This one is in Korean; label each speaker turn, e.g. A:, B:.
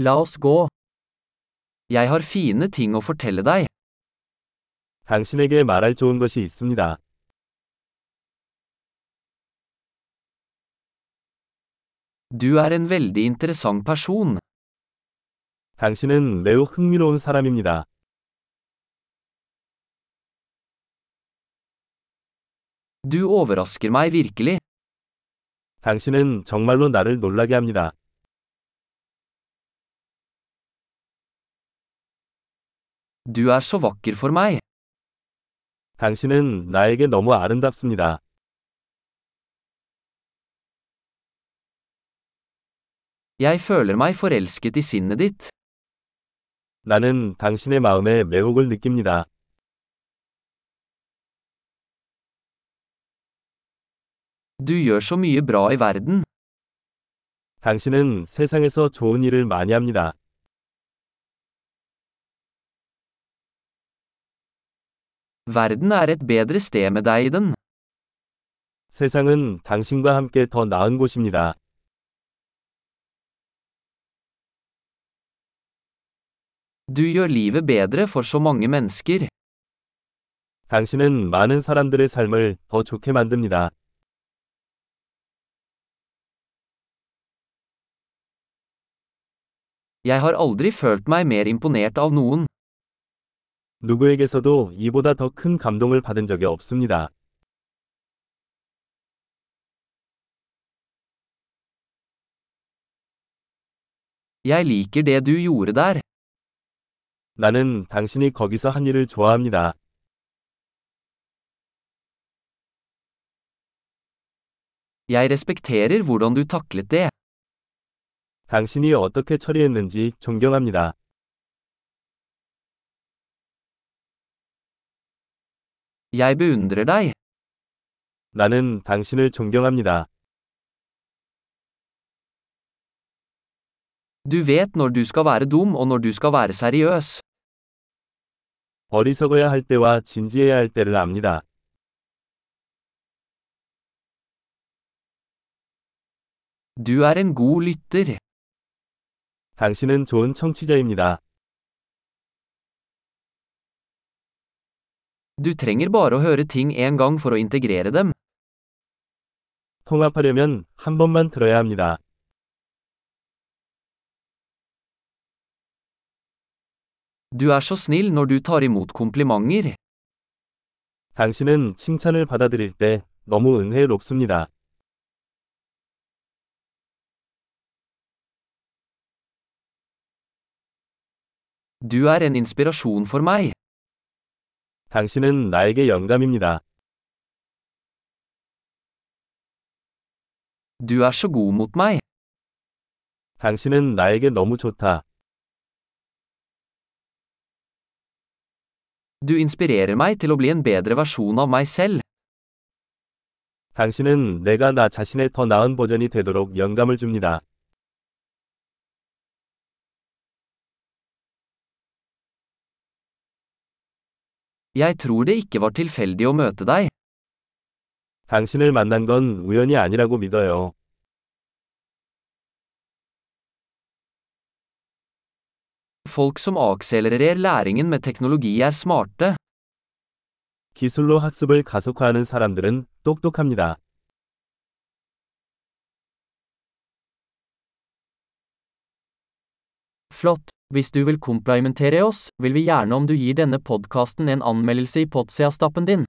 A: La oss gå. Jeg har fine ting å fortelle deg.
B: 당신에게 말할 좋은 것이 있습니다.
A: Du er en veldig interessant person.
B: 당신은 매우 흥미로운 사람입니다.
A: Du overrasker meg virkelig.
B: 당신은 정말로 나를 놀라게 합니다.
A: Du er så vakker for meg.
B: 당신은 나에게 너무 아름답습니다.
A: Jeg føler meg forelsket i sinnet ditt.
B: 나는 당신의 마음에 매혹을 느낍니다.
A: Du gjør så mye bra i verden.
B: 당신은 세상에서 좋은 일을 많이 합니다.
A: Verden er et bedre sted med deg i den.
B: 세상은 당신과 함께 더 나은 곳입니다.
A: Du gjør livet bedre for så mange mennesker.
B: 당신은 많은 사람들의 삶을 더 좋게 만듭니다.
A: Jeg har aldri følt meg mer imponert av noen.
B: 누구에게서도 이보다 더 큰 감동을 받은 적이 없습니다.
A: Jeg liker det du gjorde der.
B: 나는 당신이 거기서 한 일을 좋아합니다.
A: Jeg respekterer hvordan du taklet det.
B: 당신이 어떻게 처리했는지 존경합니다.
A: Jeg beundrer deg.
B: 나는 당신을 존경합니다.
A: Du vet når du skal være dum og når du skal være seriøs.
B: 어리석어야 할 때와 진지해야 할 때를 압니다.
A: Du er en god lytter.
B: 당신은 좋은 청취자입니다.
A: Du trenger bare å høre ting en gang for å integrere dem.
B: 통합하려면 한 번만 들어야 합니다.
A: Du er så snill når du tar imot komplimenter.
B: 당신은 칭찬을 받아들일 때 너무 은혜롭습니다.
A: Du er en inspirasjon for meg.
B: 당신은 나에게 영감입니다.
A: Du er så god mot meg.
B: 당신은 나에게 너무 좋다.
A: Du inspirerer meg til å bli en bedre versjon av meg selv.
B: 당신은 내가 나 자신의 더 나은 버전이 되도록 영감을 줍니다.
A: Jeg tror det ikke var tilfeldig å møte deg.
B: 당신을 만난 건 우연이 아니라고 믿어요.
A: Folk som akselererer læringen med teknologi er smarte.
B: 기술로 학습을 가속화하는 사람들은 똑똑합니다.
C: Flott. Hvis du vil komplimentere oss, vil vi gjerne om du gir denne podkasten en anmeldelse i Potsia-stappen din.